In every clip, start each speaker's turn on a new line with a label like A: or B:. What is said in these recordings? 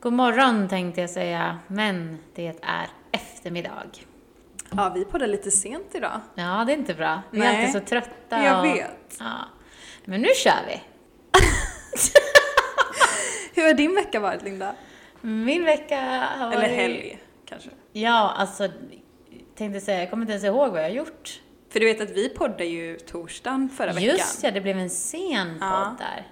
A: God morgon tänkte jag säga, men det är eftermiddag.
B: Ja, vi poddar lite sent idag.
A: Ja, det är inte bra. Vi är
B: Nej,
A: alltid så trötta.
B: jag
A: och-
B: vet.
A: Ja. Men nu kör vi!
B: Hur har din vecka varit Linda?
A: Min vecka har
B: Eller
A: varit...
B: helg kanske?
A: Ja, alltså, tänkte säga, jag kommer inte ens ihåg vad jag har gjort.
B: För du vet att vi poddade ju torsdagen förra veckan.
A: Just ja, det blev en sen
B: Ja.
A: podd där.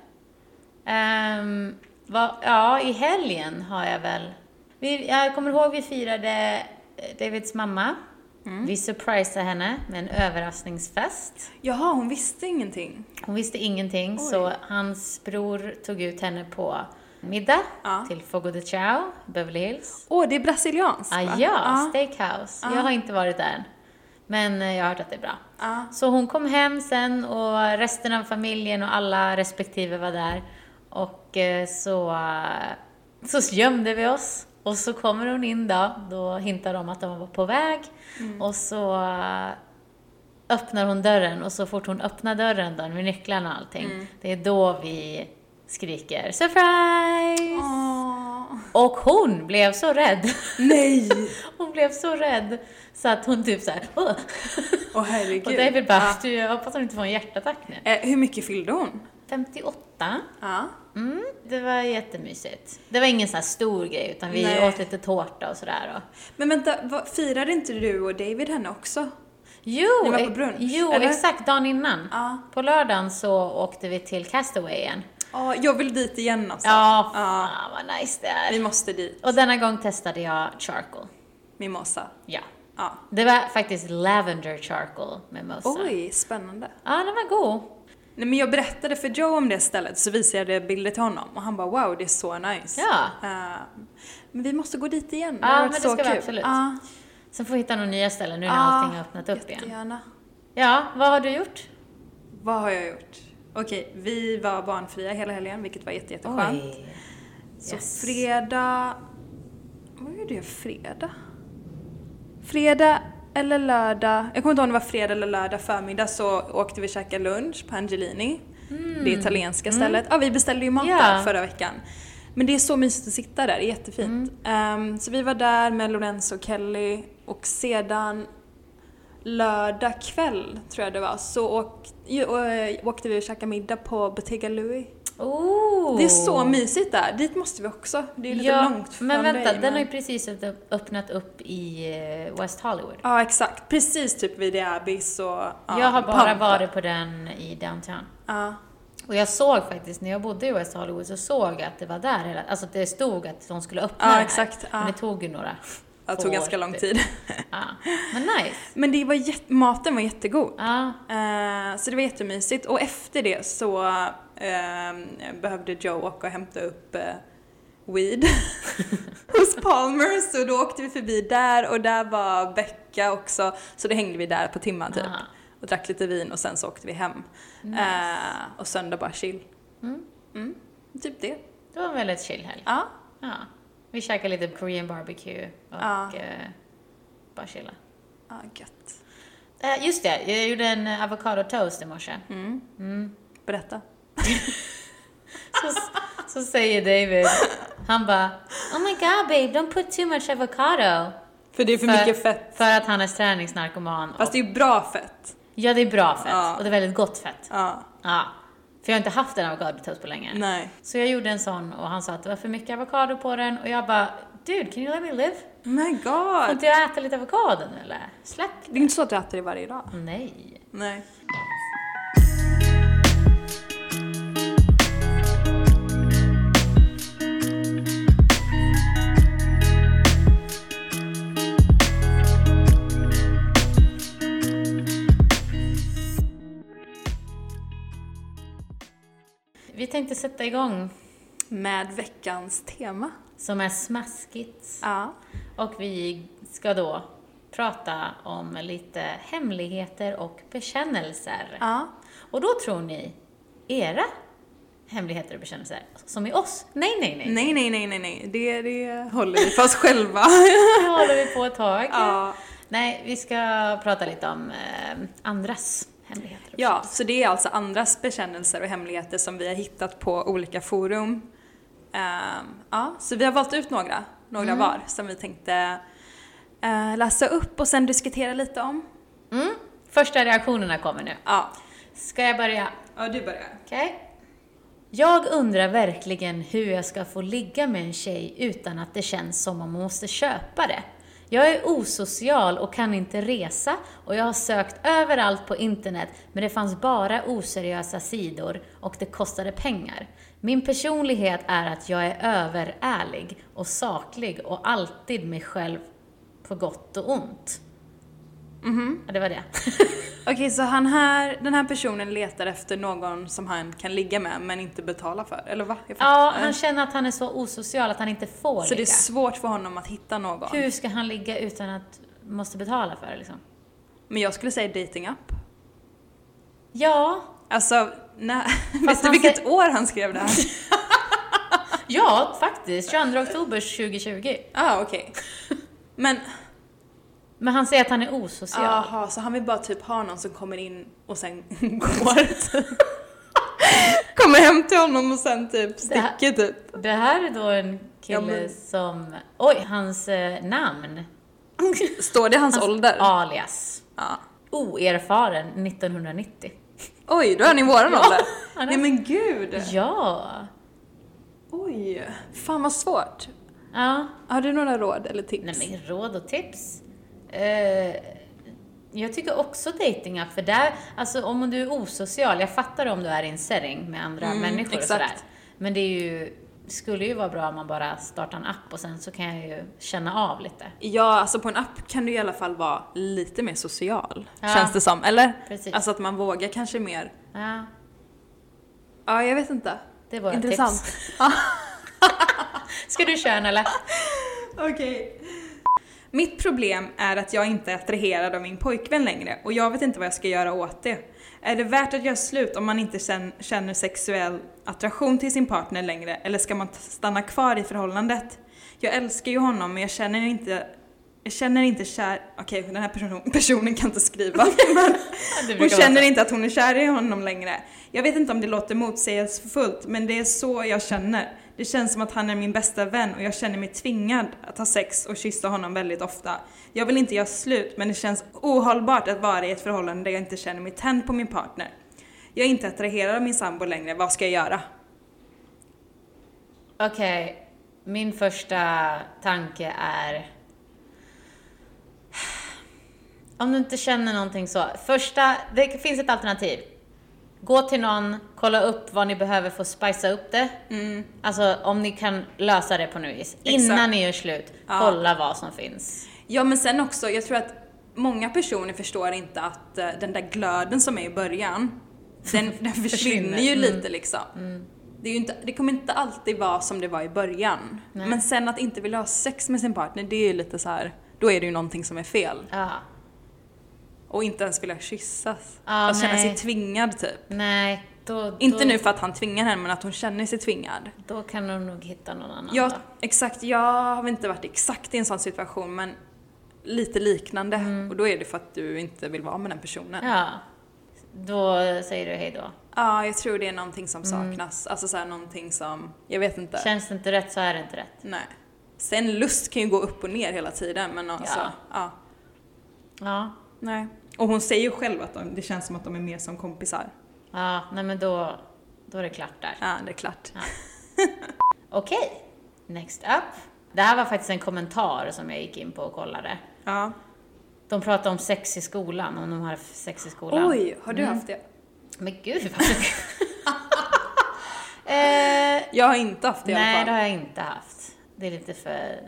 A: Ehm, vad- ja, i helgen har jag väl... Vi, jag kommer ihåg vi firade eh, Davids mamma.
B: Mm.
A: Vi surprisade henne med en överraskningsfest.
B: Jaha, hon visste ingenting.
A: Hon visste ingenting,
B: Oj.
A: så hans bror tog ut henne på middag
B: Ja.
A: till Fogo de Chao, Beverly Hills.
B: Åh, det är brasilianskt
A: Ah,
B: va?
A: ja, steakhouse. Jag har inte varit där än. Men eh, jag har hört att det är bra.
B: Ja.
A: Så hon kom hem sen och resten av familjen och alla respektive var där. Och eh, så, eh, så gömde vi oss. Och så kommer hon in då, då hintar de att de var på väg. Och så eh, öppnar hon dörren och så fort hon öppnar dörren då, med nycklarna och allting, det är då vi skriker “surprise”.
B: Åh.
A: Och hon blev så rädd.
B: Ah. Nej!
A: Hon blev så rädd så att hon typ såhär... "Åh."
B: Åh herregud. Ah.
A: Och David bara, du jag hoppas hon inte får en hjärtattack nu.
B: Eh, hur mycket fyllde hon? Ah.
A: 58.
B: Ja.
A: Mm, det var jättemysigt. Det var ingen så här stor grej utan vi
B: Nej.
A: åt lite tårta och sådär. Och...
B: Men vänta, vad, firade inte du och David henne också?
A: Jo,
B: Ni var på
A: e-
B: brunch,
A: jo
B: eller?
A: exakt, dagen innan.
B: Ja.
A: På lördagen så åkte vi till Castaway igen.
B: Ja, jag vill dit igen alltså.
A: Ja,
B: Ja.
A: fan vad nice det är.
B: Vi måste dit.
A: Och denna gång testade jag charcoal.
B: Mimosa.
A: Ja.
B: Ja.
A: Det var faktiskt lavender charcoal med mossa.
B: Oj, spännande.
A: Ja, den var god.
B: Nej, men jag berättade för Joe om det stället så visade jag bilder till honom och han bara wow det är så nice.
A: Ja.
B: Eh, men vi måste gå dit igen.
A: Ja,
B: har
A: men
B: varit
A: det
B: så
A: ska vi
B: kul.
A: absolut.
B: Ja,
A: Sen får vi hitta några nya ställen nu när
B: Ja,
A: allting har öppnat upp igen.
B: jättegärna.
A: Ja, vad har du gjort?
B: Vad har jag gjort? Okej, vi var barnfria hela helgen vilket var jätte, jätteskönt. Så
A: Yes.
B: fredag... Vad gjorde jag fredag? Fredag eller lördag, jag kommer inte ihåg om det var fredag eller lördag förmiddag så åkte vi och käkade lunch på Angelini. Det italienska stället. Ja, vi beställde ju mat
A: Mm. Ja.
B: där förra veckan. Men det är så mysigt att sitta där, det är jättefint.
A: Mm.
B: Ehm, så vi var där med Lorenzo och Kelly och sedan lördag kväll, tror jag det var, så åk, ju- ö, åkte vi och käkade middag på Bottega Louis.
A: Oh.
B: Det är så mysigt där. Dit måste vi också. Det är ju lite långt från
A: Men vänta,
B: dig,
A: den har ju precis öpp- öppnat upp i eh, West Hollywood.
B: Ja, exakt. Precis typ vid The Abyss och... Ja,
A: jag har bara
B: Pampa.
A: varit på den i downtown.
B: Ja.
A: Och jag såg faktiskt, när jag bodde i West Hollywood, så såg jag att det var där hela... Alltså att det stod att de skulle öppna
B: Ja,
A: det här.
B: exakt, ja.
A: Men det tog ju några
B: Det
A: år,
B: tog ganska lång
A: typ.
B: tid.
A: Ja. Men nice.
B: Men det var jätt... maten var jättegod.
A: Ja.
B: Eh, så det var jättemysigt. Och efter det så ehm, behövde Joe åka och hämta upp eh, weed hos Palmers. Och då åkte vi förbi där och där var Becka också. Så då hängde vi där på timman typ.
A: Aha.
B: Och drack lite vin och sen så åkte vi hem. Eh, och söndag bara chill. Mm, typ det.
A: Det var en väldigt chill helg.
B: Ja.
A: Ja. Vi käkade lite korean barbecue och
B: Ja.
A: eh, bara chilla.
B: Ja, gött.
A: Eh, just det, jag gjorde en eh, avocado toast i morse.
B: Mm. Berätta.
A: Så, så säger David, han bara Oh my god babe, don't put too much avocado.
B: För det är för, mycket fett.
A: För att han är träningsnarkoman.
B: Fast
A: Och,
B: det är ju bra fett.
A: ja, det är bra fett
B: Ja.
A: och det är väldigt gott fett.
B: Ja.
A: Ja. För jag har inte haft en avocado toast på länge.
B: Nej.
A: Så jag gjorde en sån och han sa att det var för mycket avokado på den och jag bara Dude, can you let me live?
B: Oh My
A: Får
B: god.
A: inte jag äta lite avokado nu eller? Släpp
B: Det är inte så att du äter det varje dag.
A: Nej.
B: Nej.
A: Vi tänkte sätta igång
B: Med veckans tema.
A: som är smaskigt.
B: Ja.
A: Och vi ska då prata om lite hemligheter och bekännelser.
B: Ja.
A: Och då tror ni era hemligheter och bekännelser som i oss. Nej, nej, nej.
B: Nej, nej, nej, nej, nej. Det, det håller vi för oss själva.
A: Det håller vi på ett tag.
B: Ja.
A: Nej, vi ska prata lite om eh, andras hemligheter. och
B: Ja, så det är alltså andras bekännelser och hemligheter som vi har hittat på olika forum. Ehm, ja, så vi har valt ut några, några
A: Mm.
B: var, som vi tänkte eh, läsa upp och sen diskutera lite om.
A: Mm. Första reaktionerna kommer nu.
B: Ja.
A: Ska jag börja?
B: Ja, du börjar.
A: Okej. Jag undrar verkligen hur jag ska få ligga med en tjej utan att det känns som om hon måste köpa det. Jag är osocial och kan inte resa och jag har sökt överallt på internet men det fanns bara oseriösa sidor och det kostade pengar. Min personlighet är att jag är överärlig och saklig och alltid mig själv på gott och ont. Mhm. Ja, det var det.
B: Okej, så han här, den här personen letar efter någon som han kan ligga med men inte betala för, eller va? Jag fattar
A: ja,
B: inte.
A: han känner att han är så osocial att han inte får
B: så det är
A: ligga.
B: svårt för honom att hitta någon.
A: Hur ska han ligga utan att måste betala för det liksom?
B: Men jag skulle säga datingapp.
A: Ja,
B: Alltså, nej.
A: Fast
B: Vet du
A: han
B: vilket
A: säger-
B: år han skrev det här?
A: Ah, ja faktiskt. 22 oktober 2020.
B: Ja, ah, okej. Men,
A: Men han säger att han är osocial.
B: jaha, så han vill bara typ ha någon som kommer in och sen går typ. Kommer hem till honom och sen typ
A: Det här-
B: sticker typ.
A: Det här är då en kille
B: Ja, men-
A: som... Oj, hans eh, namn.
B: Står det hans,
A: Alltså,
B: ålder?
A: Alias.
B: Ja.
A: Oerfaren 1990.
B: Oj, då är ni i våran
A: Ja,
B: ålder.
A: han är-
B: Nej men gud.
A: Ja.
B: Oj. Fan vad svårt.
A: Ja.
B: Har du några råd eller tips?
A: Nej men råd och tips. Eh, jag tycker också datingapp för där, alltså om du är osocial, jag fattar om du är i en setting med andra
B: Mm,
A: människor och
B: exakt.
A: sådär. Men det är ju, skulle ju vara bra om man bara startar en app och sen så kan jag ju känna av lite.
B: Ja, alltså på en app kan du i alla fall vara lite mer social.
A: Ja.
B: Känns det som. Eller?
A: Precis.
B: Alltså att man vågar kanske mer.
A: Ja,
B: Ja, jag vet inte.
A: det är våra
B: Intressant.
A: tips. Ska du köra en, eller?
B: Okej. Mitt problem är att jag inte är attraherad av min pojkvän längre och jag vet inte vad jag ska göra åt det. Är det värt att göra slut om man inte kän- känner sexuell attraktion till sin partner längre eller ska man t- stanna kvar i förhållandet? Jag älskar ju honom men jag känner inte jag känner inte kär... Okej, den här personen, personen kan inte skriva. Men
A: Det brukar
B: hon
A: vara
B: känner
A: så.
B: inte att hon är kär i honom längre. Jag vet inte om det låter motsägelsefullt, men det är så jag känner. Det känns som att han är min bästa vän och jag känner mig tvingad att ha sex och kyssa honom väldigt ofta. Jag vill inte göra slut, men det känns ohållbart att vara i ett förhållande där jag inte känner mig tänd på min partner. Jag är inte attraherad av min sambo längre, vad ska jag göra?
A: Okej, min första tanke är... Om du inte känner någonting så. Första, det finns ett alternativ. Gå till någon, kolla upp vad ni behöver för att spicea upp det.
B: Mm.
A: Alltså om ni kan lösa det på något vis. Innan ni gör slut, kolla vad som finns.
B: Ja, men sen också, jag tror att många personer förstår inte att eh, den där glöden som är i början, den, den försvinner
A: Försvinner, Mm.
B: ju lite liksom. Det, är ju inte, det kommer inte alltid vara som det var i början. Men sen att inte vilja ha sex med sin partner, det är ju lite så här. då är det ju någonting som är fel.
A: Ja.
B: Och inte ens vilja kyssas.
A: Ja,
B: att känna sig
A: Ah, nej.
B: tvingad typ.
A: Nej, då,
B: Inte
A: då,
B: nu för att han tvingar henne, men att hon känner sig tvingad.
A: då kan de nog hitta någon annan.
B: Jag,
A: då.
B: exakt, jag har inte varit exakt i en sån situation men lite liknande. Och då är det för att du inte vill vara med den personen. Ja,
A: Ja. Då säger du hej då.
B: jag tror det är någonting som saknas. Alltså så här, någonting som, jag vet inte.
A: Känns det inte rätt så är det inte rätt.
B: Nej. Sen lust kan ju gå upp och ner hela tiden men alltså,
A: Ja.
B: ja.
A: Ja.
B: Nej. Och hon säger ju själv att de, det känns som att de är mer som kompisar.
A: Ja, nej men då, då är det klart där.
B: Ja, det är klart.
A: Okej, next up. Det här var faktiskt en kommentar som jag gick in på och kollade.
B: Ja.
A: De pratade om sex i skolan, om de har sex i skolan.
B: Oj, har du haft det?
A: Men gud vad... eh,
B: Jag har inte haft det i alla
A: nej,
B: fall.
A: det har jag inte haft. Det är lite för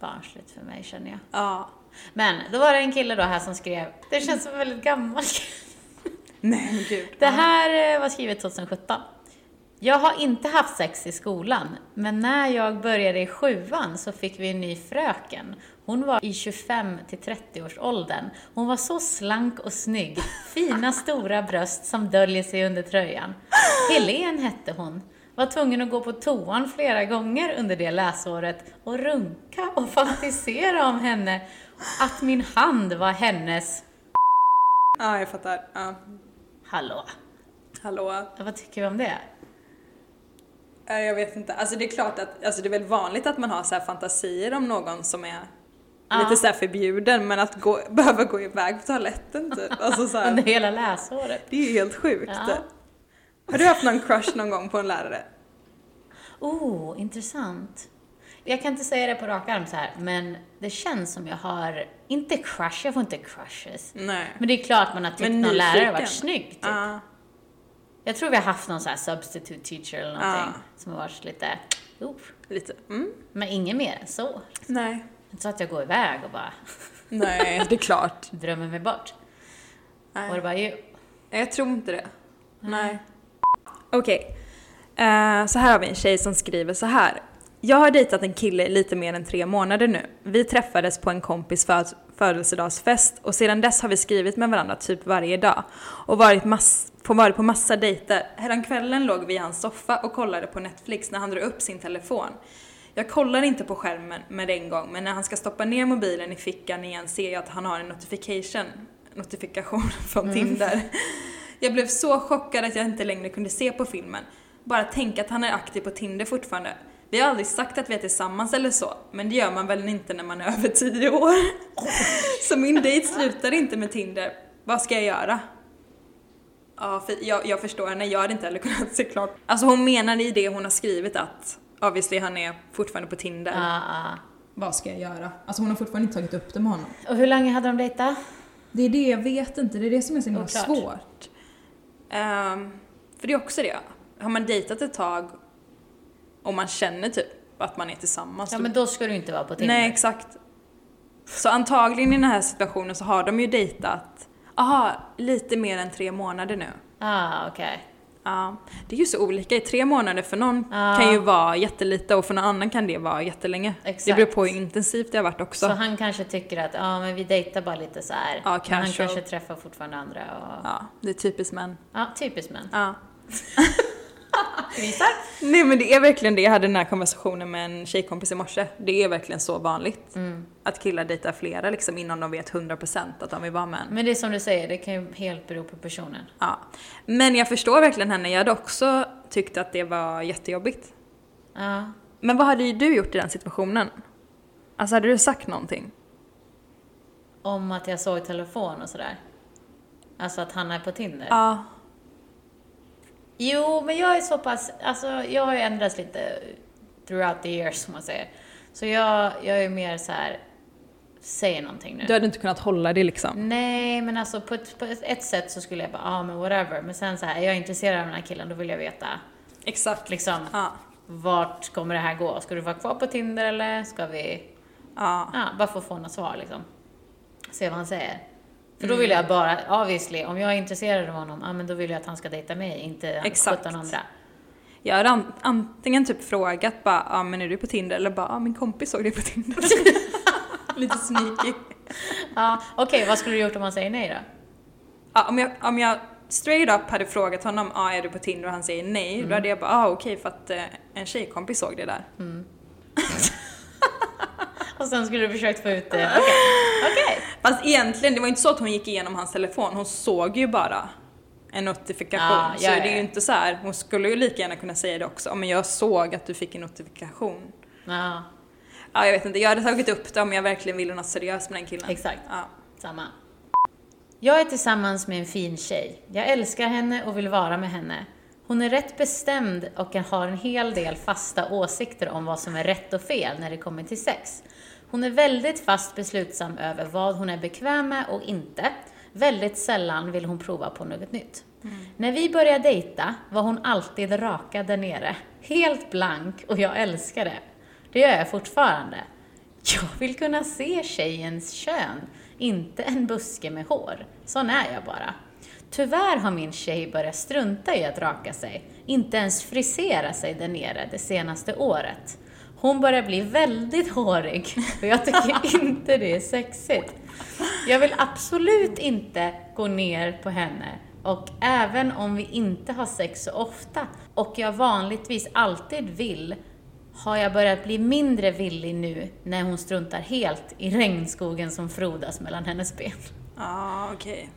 A: barnsligt för mig känner jag.
B: Ja.
A: Men då var det en kille då här som skrev, det känns som en väldigt gammal
B: Nej, men gud.
A: Det här eh, var skrivet 2017. Jag har inte haft sex i skolan, men när jag började i sjuan så fick vi en ny fröken. Hon var i 25 till 30 års åldern. Hon var så slank och snygg. Fina stora bröst som döljer sig under tröjan. Helen hette hon. Var tvungen att gå på toan flera gånger under det läsåret och runka och fantisera om henne. Att min hand var hennes.
B: Ja, jag fattar. Ja.
A: Hallå,
B: Hallå.
A: vad tycker vi om det?
B: Eh, Ja, Jag vet inte. Alltså det är klart att, alltså det är väl vanligt att man har så här fantasier om någon som är
A: Ja.
B: lite så här förbjuden men att gå, behöva gå iväg på toaletten typ. Alltså så
A: Under
B: här,
A: hela läsåret.
B: det är ju helt sjukt. typ.
A: Ja.
B: Har du haft någon crush någon gång på en lärare?
A: Oh, intressant. Jag kan inte säga det på rak arm så här, men det känns som jag har, inte crush, jag får inte crushes.
B: Nej. Ah,
A: Men det är klart man har tyckt
B: Men
A: någon lärare har varit
B: nyfiken.
A: snygg. Typ.
B: Ja.
A: Jag tror vi har haft någon så här substitute teacher eller någonting
B: Ja.
A: som har varit lite, oof.
B: lite. Mm.
A: Men inget mer än så.
B: Nej.
A: Inte så att jag går iväg och bara
B: Nej, det är klart.
A: drömmer mig bort. Och
B: Nej.
A: det bara, ju,
B: Jag tror inte det. Nej. Okej. Eh, så här har vi en tjej som skriver så här. Jag har dejtat en kille i lite mer än tre månader nu. Vi träffades på en kompis föd- födelsedagsfest och sedan dess har vi skrivit med varandra typ varje dag och varit, mass- på- varit på massa dejter. Häromkvällen låg vi i hans soffa och kollade på Netflix när han drar upp sin telefon. Jag kollar inte på skärmen med en gång, men när han ska stoppa ner mobilen i fickan igen ser jag att han har en notification, notifikation från Tinder. Jag blev så chockad att jag inte längre kunde se på filmen. Bara tänka att han är aktiv på Tinder fortfarande. Vi har aldrig sagt att vi är tillsammans eller så, men det gör man väl inte när man är över tio år. Så min dejt slutar inte med Tinder. Vad ska jag göra? Ja, för jag, jag förstår henne, jag hade inte heller kunnat se klart. Alltså hon menar i det hon har skrivit att obviously han är fortfarande på Tinder.
A: ah, ah.
B: Vad ska jag göra? Alltså hon har fortfarande inte tagit upp det med honom.
A: Och hur länge hade de dejtat?
B: Det är det jag vet inte, det är det som är så himla
A: Oklart.
B: svårt. Ehm, för det är också det, har man dejtat ett tag och man känner typ att man är tillsammans.
A: Ja
B: då-
A: men då ska du inte vara på Tinder.
B: Nej, exakt. Så antagligen i den här situationen så har de ju dejtat, aha, lite mer än tre månader nu.
A: Ah, okej.
B: Ja, det är ju så olika. I tre månader för någon
A: Ja.
B: kan ju vara jättelite och för någon annan kan det vara jättelänge. Det
A: Exakt.
B: beror på hur intensivt det har varit också.
A: Så. han kanske tycker att, ja men vi dejtar bara lite så här. Men
B: Ja,
A: han
B: casual.
A: kanske träffar fortfarande andra och... Ja,
B: Ja, det är typiskt män.
A: typiskt män.
B: Ja.
A: Visar.
B: Nej men det är verkligen det, jag hade den här konversationen med en tjejkompis i morse. Det är verkligen så vanligt. Att killar dejtar flera liksom innan de vet 100% att de vill vara med en.
A: Men det är som du säger, det kan ju helt bero på personen.
B: Ja. Men jag förstår verkligen henne, jag hade också tyckt att det var jättejobbigt.
A: Ja.
B: Men vad hade ju du gjort i den situationen? Alltså hade du sagt någonting?
A: Om att jag såg telefon och sådär. Alltså att han är på Tinder.
B: Ja.
A: Jo, men jag är så pass, alltså jag har ju ändrats lite throughout the years som man säger. Så jag, jag är mer så här. säg någonting nu.
B: Du hade inte kunnat hålla det liksom?
A: Nej, men alltså på ett, på ett- ett sätt så skulle jag bara, ja ah, men whatever. Men sen så här, är jag intresserad av den här killen, då vill jag veta
B: Exakt.
A: liksom,
B: Ja.
A: vart kommer det här gå? Ska du vara kvar på Tinder eller ska vi,
B: Ja.
A: ja, bara för att få något svar liksom. Se vad han säger. För
B: Mm.
A: då vill jag bara, obviously, om jag är intresserad av honom, ja ah, men då vill jag att han ska dejta mig, inte
B: Exakt.
A: 17 andra.
B: Jag hade an- antingen typ frågat bara, ja ah, men är du på Tinder? Eller bara, ja ah, min kompis såg dig på Tinder. Lite sneaky.
A: Ja, Okej, vad skulle du gjort om han säger nej då?
B: Ja, om, jag, om jag straight up hade frågat honom, ja ah, är du på Tinder? Och han säger nej.
A: Mm.
B: Då hade jag bara, ah, okej för att eh, en tjejkompis såg det där.
A: Och sen skulle du försökt få ut det. Okej, okej.
B: Fast egentligen, det var ju inte så att hon gick igenom hans telefon, hon såg ju bara en notifikation.
A: Ah, ja,
B: så det
A: ja,
B: är
A: ja.
B: ju inte så här, hon skulle ju lika gärna kunna säga det också, "Ja, men jag såg att du fick en notifikation.
A: Ja,
B: Ja, jag vet inte, jag hade tagit upp det om jag verkligen ville något seriöst med den killen.
A: exakt.
B: Ja.
A: Samma. Jag är tillsammans med en fin tjej. Jag älskar henne och vill vara med henne. Hon är rätt bestämd och har en hel del fasta åsikter om vad som är rätt och fel när det kommer till sex. Hon är väldigt fast beslutsam över vad hon är bekväm med och inte. Väldigt sällan vill hon prova på något nytt. När vi började dejta var hon alltid raka där nere. Helt blank och jag älskar det. Det gör jag fortfarande. Jag vill kunna se tjejens kön, inte en buske med hår. Sån är jag bara. Tyvärr har min tjej börjat strunta i att raka sig, inte ens frisera sig där nere det senaste året. Hon börjar bli väldigt hårig och jag tycker inte det är sexigt. Jag vill absolut inte gå ner på henne och även om vi inte har sex så ofta och jag vanligtvis alltid vill har jag börjat bli mindre villig nu när hon struntar helt i regnskogen som frodas mellan hennes ben.
B: Ja, Ah, okej.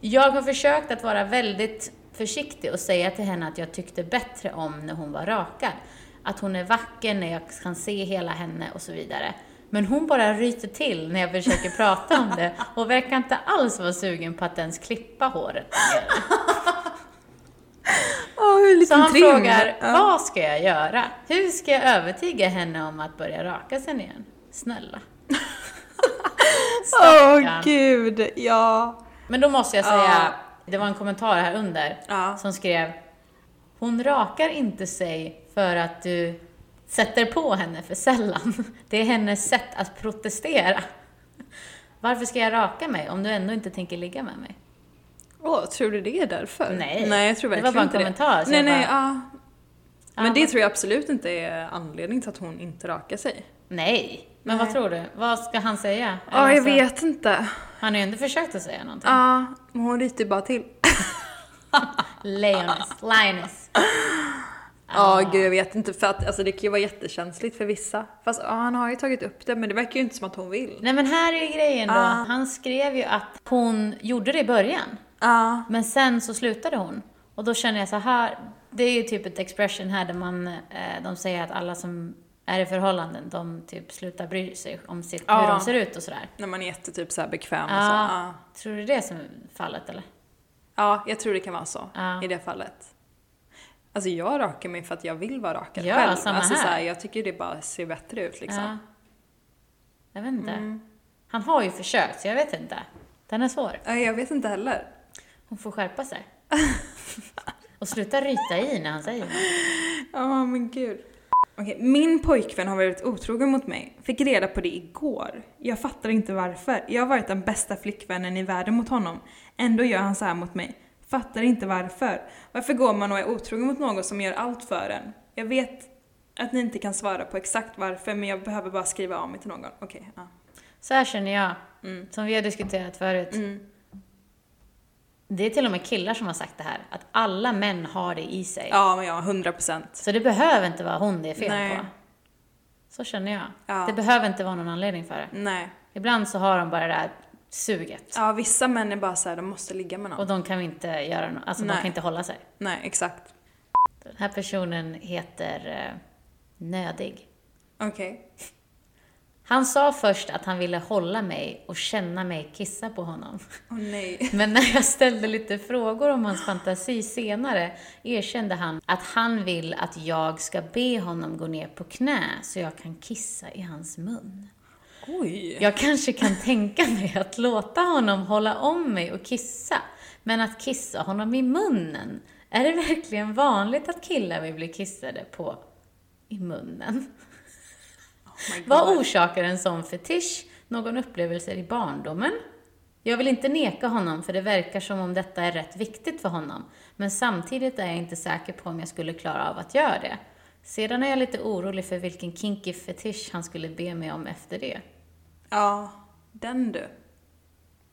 A: Jag har försökt att vara väldigt försiktig och säga till henne att jag tyckte bättre om när hon var rakad. Att hon är vacker när jag kan se hela henne och så vidare. Men hon bara ryter till när jag försöker prata om det och verkar inte alls vara sugen på att ens klippa håret.
B: Åh, hur
A: Så han
B: trim.
A: frågar,
B: Ja.
A: vad ska jag göra? Hur ska jag övertyga henne om att börja raka sig igen? Snälla.
B: Åh
A: Stackarn.
B: gud, ja.
A: Men då måste jag säga,
B: Ja.
A: det var en kommentar här under
B: Ja.
A: som skrev Hon rakar inte sig för att du sätter på henne för sällan. Det är hennes sätt att protestera. Varför ska jag raka mig om du ändå inte tänker ligga med mig?
B: Åh, tror du det är därför?
A: Nej.
B: nej jag tror
A: Det var
B: verkligen
A: bara en
B: inte
A: kommentar,
B: Det.
A: så
B: Nej,
A: jag
B: nej,
A: bara-
B: ja. Men
A: Ja.
B: det tror jag absolut inte är anledningen till att hon inte rakar sig.
A: Nej, men vad tror du? Vad ska han säga?
B: Ja,
A: Eller
B: jag
A: så-
B: vet inte.
A: Han har ju ändå försökt att säga någonting.
B: Ja, men hon ryter bara till.
A: Leonis, Linus.
B: Ja, gud jag vet inte. För att alltså, det kan ju vara jättekänsligt för vissa. Fast ja, han har ju tagit upp det, men det verkar ju inte som att hon vill.
A: Nej men här är grejen då. Han skrev ju att hon gjorde det i början.
B: Ja,
A: Men sen så slutade hon. Och då känner jag så här, det är ju typ ett expression här där man, eh, de säger att alla som är i förhållanden, de typ slutar bry sig om sitt, hur
B: Ja.
A: de ser ut och sådär.
B: när man är jättetyp så här bekväm och så.
A: Ja.
B: Ja.
A: Tror du det är som fallet eller?
B: ja, jag tror det kan vara så
A: Ja.
B: i det fallet. Alltså jag rakar mig för att jag vill vara rakad
A: Ja,
B: själv.
A: samma
B: alltså,
A: här.
B: Så här, jag tycker det bara ser bättre ut liksom. Mm.
A: Ja. Jag vet inte. Han har ju försökt, så jag vet inte. Den är svår.
B: Ja, jag vet inte heller.
A: Hon får skärpa sig. och sluta ryta i när han säger det.
B: Ja, men gud. Okej, min pojkvän har varit otrogen mot mig. Fick reda på det igår. Jag fattar inte varför. Jag har varit den bästa flickvännen i världen mot honom. Ändå gör han så här mot mig. Fattar inte varför. Varför går man och är otrogen mot någon som gör allt för en? Jag vet att ni inte kan svara på exakt varför, men jag behöver bara skriva av mig till någon. Okej, ja. Mm.
A: Så här känner jag, som vi har diskuterat förut. Det är till och med killar som har sagt det här, att alla män har det i sig.
B: Ja, men ja, 100 procent.
A: Så det behöver inte vara hon det är fel
B: Nej.
A: på. Så känner jag.
B: Ja.
A: Det behöver inte vara någon anledning för det.
B: Nej.
A: Ibland så har de bara det där suget.
B: Ja, vissa män är bara så här, de måste ligga med någon.
A: Och de kan inte göra något, alltså
B: Nej.
A: de kan inte hålla sig.
B: Nej, exakt.
A: Den här personen heter eh, Nödig.
B: Okej.
A: Han sa först att han ville hålla mig och känna mig kissa på honom.
B: Åh nej.
A: Men när jag ställde lite frågor om hans fantasi senare erkände han att han vill att jag ska be honom gå ner på knä så jag kan kissa i hans mun.
B: Oj.
A: Jag kanske kan tänka mig att låta honom hålla om mig och kissa, men att kissa honom i munnen. Är det verkligen vanligt att killar vill bli kissade på i munnen?
B: Oh my
A: Vad
B: God.
A: orsakar en sån fetisch? Någon upplevelse i barndomen? Jag vill inte neka honom för det verkar som om detta är rätt viktigt för honom. Men samtidigt är jag inte säker på om jag skulle klara av att göra det. Sedan är jag lite orolig för vilken kinky fetisch han skulle be mig om efter det.
B: Ja, den du.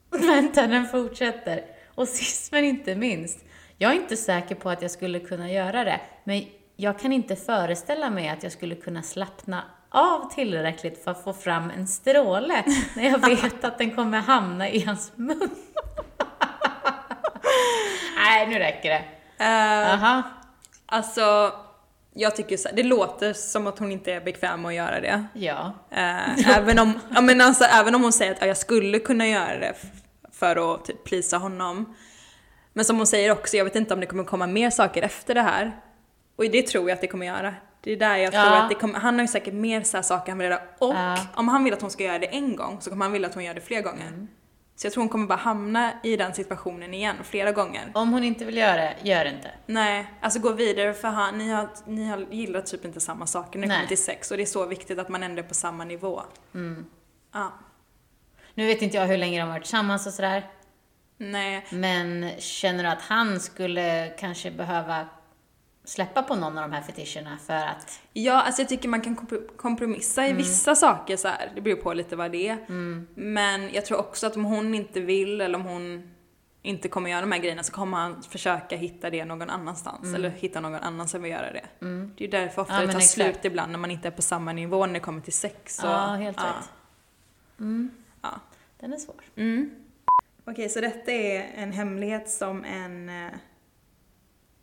A: Vänta, den fortsätter. Och sist men inte minst. Jag är inte säker på att jag skulle kunna göra det, men jag kan inte föreställa mig att jag skulle kunna slappna av tillräckligt för att få fram en stråle när jag vet att den kommer hamna i hans mun. Nej, nu räcker det.
B: Uh,
A: Aha.
B: alltså, jag tycker så här, det låter som att hon inte är bekväm med att göra det.
A: Ja.
B: Eh, även, om, ja, men alltså, även om hon säger att ja, jag skulle kunna göra det f- för att typ plisa honom. Men som hon säger också, jag vet inte om det kommer komma mer saker efter det här. Och det tror jag att det kommer göra. Det är där jag tror
A: Ja.
B: att det kommer, han har ju säkert mer så här saker han vill göra. Och om han vill att hon ska göra det en gång så kommer han vilja att hon gör det fler gånger. Så jag tror hon kommer bara hamna i den situationen igen flera gånger.
A: Om hon inte vill göra det, gör det inte.
B: Nej, alltså gå vidare för han, ni, har, ni har gillar typ inte samma saker när det
A: Nej. Mm.
B: kommer till sex och det är så viktigt att man ändå är på samma nivå. Ja,
A: Nu vet inte jag hur länge de har varit tillsammans och sådär.
B: nej.
A: Men känner du att han skulle kanske behöva släppa på någon av de här fetischerna för att...
B: Ja, alltså jag tycker man kan kompro- kompromissa i
A: Mm.
B: vissa saker så här. det beror på lite vad det är. Men jag tror också att om hon inte vill eller om hon inte kommer göra de här grejerna så kommer han försöka hitta det någon annanstans eller hitta någon annan som vill göra det. Det är ju därför ofta
A: Mm. Ja,
B: det
A: men
B: tar
A: exakt.
B: slut ibland när man inte är på samma nivå när det kommer till sex. Så,
A: ja, helt
B: ja.
A: rätt. Mm.
B: Ja.
A: Den är svår.
B: Mm. Okej, så detta är en hemlighet som en eh,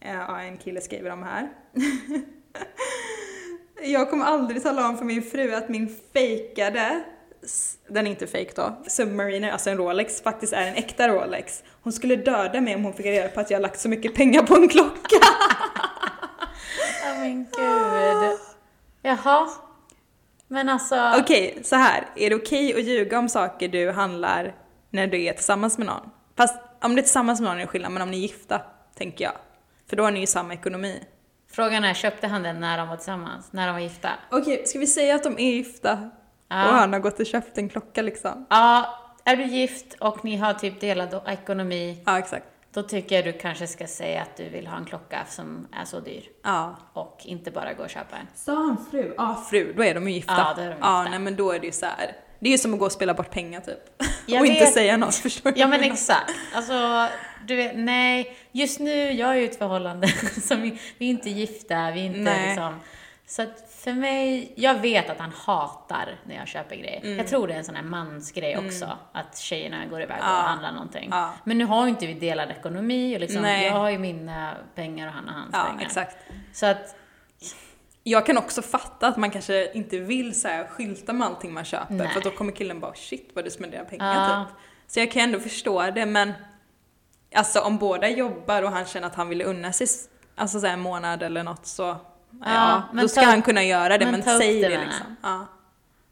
B: Eh, Ja, en kille skriver om här. jag kommer aldrig tala om för min fru att min fejkade, s- den är inte fejk då, Submariner, alltså en Rolex, faktiskt är en äkta Rolex. Hon skulle döda mig om hon fick reda på att jag lagt så mycket pengar på en klocka.
A: Ja men gud. Jaha. Men alltså,
B: Okej, så här. Är det okej att ljuga om saker du handlar när du är tillsammans med någon? Fast om du är tillsammans med någon är det skillnad, men om ni är gifta, tänker jag. För då har ni ju samma ekonomi.
A: frågan är, köpte han den när de var tillsammans? När de var gifta?
B: Okej, ska vi säga att de är gifta?
A: Ja.
B: Och han har gått och köpt en klocka liksom.
A: Ja, är du gift och ni har typ delad ekonomi,
B: Ja, exakt.
A: då tycker jag du kanske ska säga att du vill ha en klocka som är så dyr
B: Ja.
A: och inte bara gå och köpa en.
B: Sa han fru? Ja, fru. Då är de ju gifta.
A: Ja, då är de gifta.
B: Ja, nej men då är det ju så här. Det är ju som att gå och spela bort pengar typ.
A: Jag
B: och inte
A: vet.
B: säga något, förstår du?
A: Ja men exakt. Alltså, du vet, nej. Just nu, jag är ju i ett förhållande som vi, vi är inte gifta, vi är inte
B: Nej.
A: liksom... Så att för mig, jag vet att han hatar när jag köper grejer.
B: Mm.
A: Jag tror det är en sån här mansgrej också, att tjejerna går iväg och handlar någonting.
B: Ja.
A: Men nu har ju inte vi delad ekonomi och liksom,
B: Nej.
A: jag har ju mina pengar och han har hans
B: Ja,
A: pengar.
B: exakt.
A: Så att,
B: Jag kan också fatta att man kanske inte vill så här skylta med allting man köper
A: Nej.
B: för att då kommer killen bara shit vad du spenderar pengar
A: Ja.
B: typ. Så jag kan ändå förstå det men alltså om båda jobbar och han känner att han vill unna sig s- alltså så här en månad eller något så ja,
A: men
B: då ska
A: ta-
B: han kunna göra det
A: men
B: men,
A: ta upp
B: säg
A: det,
B: det,
A: menar jag.
B: liksom. Ja,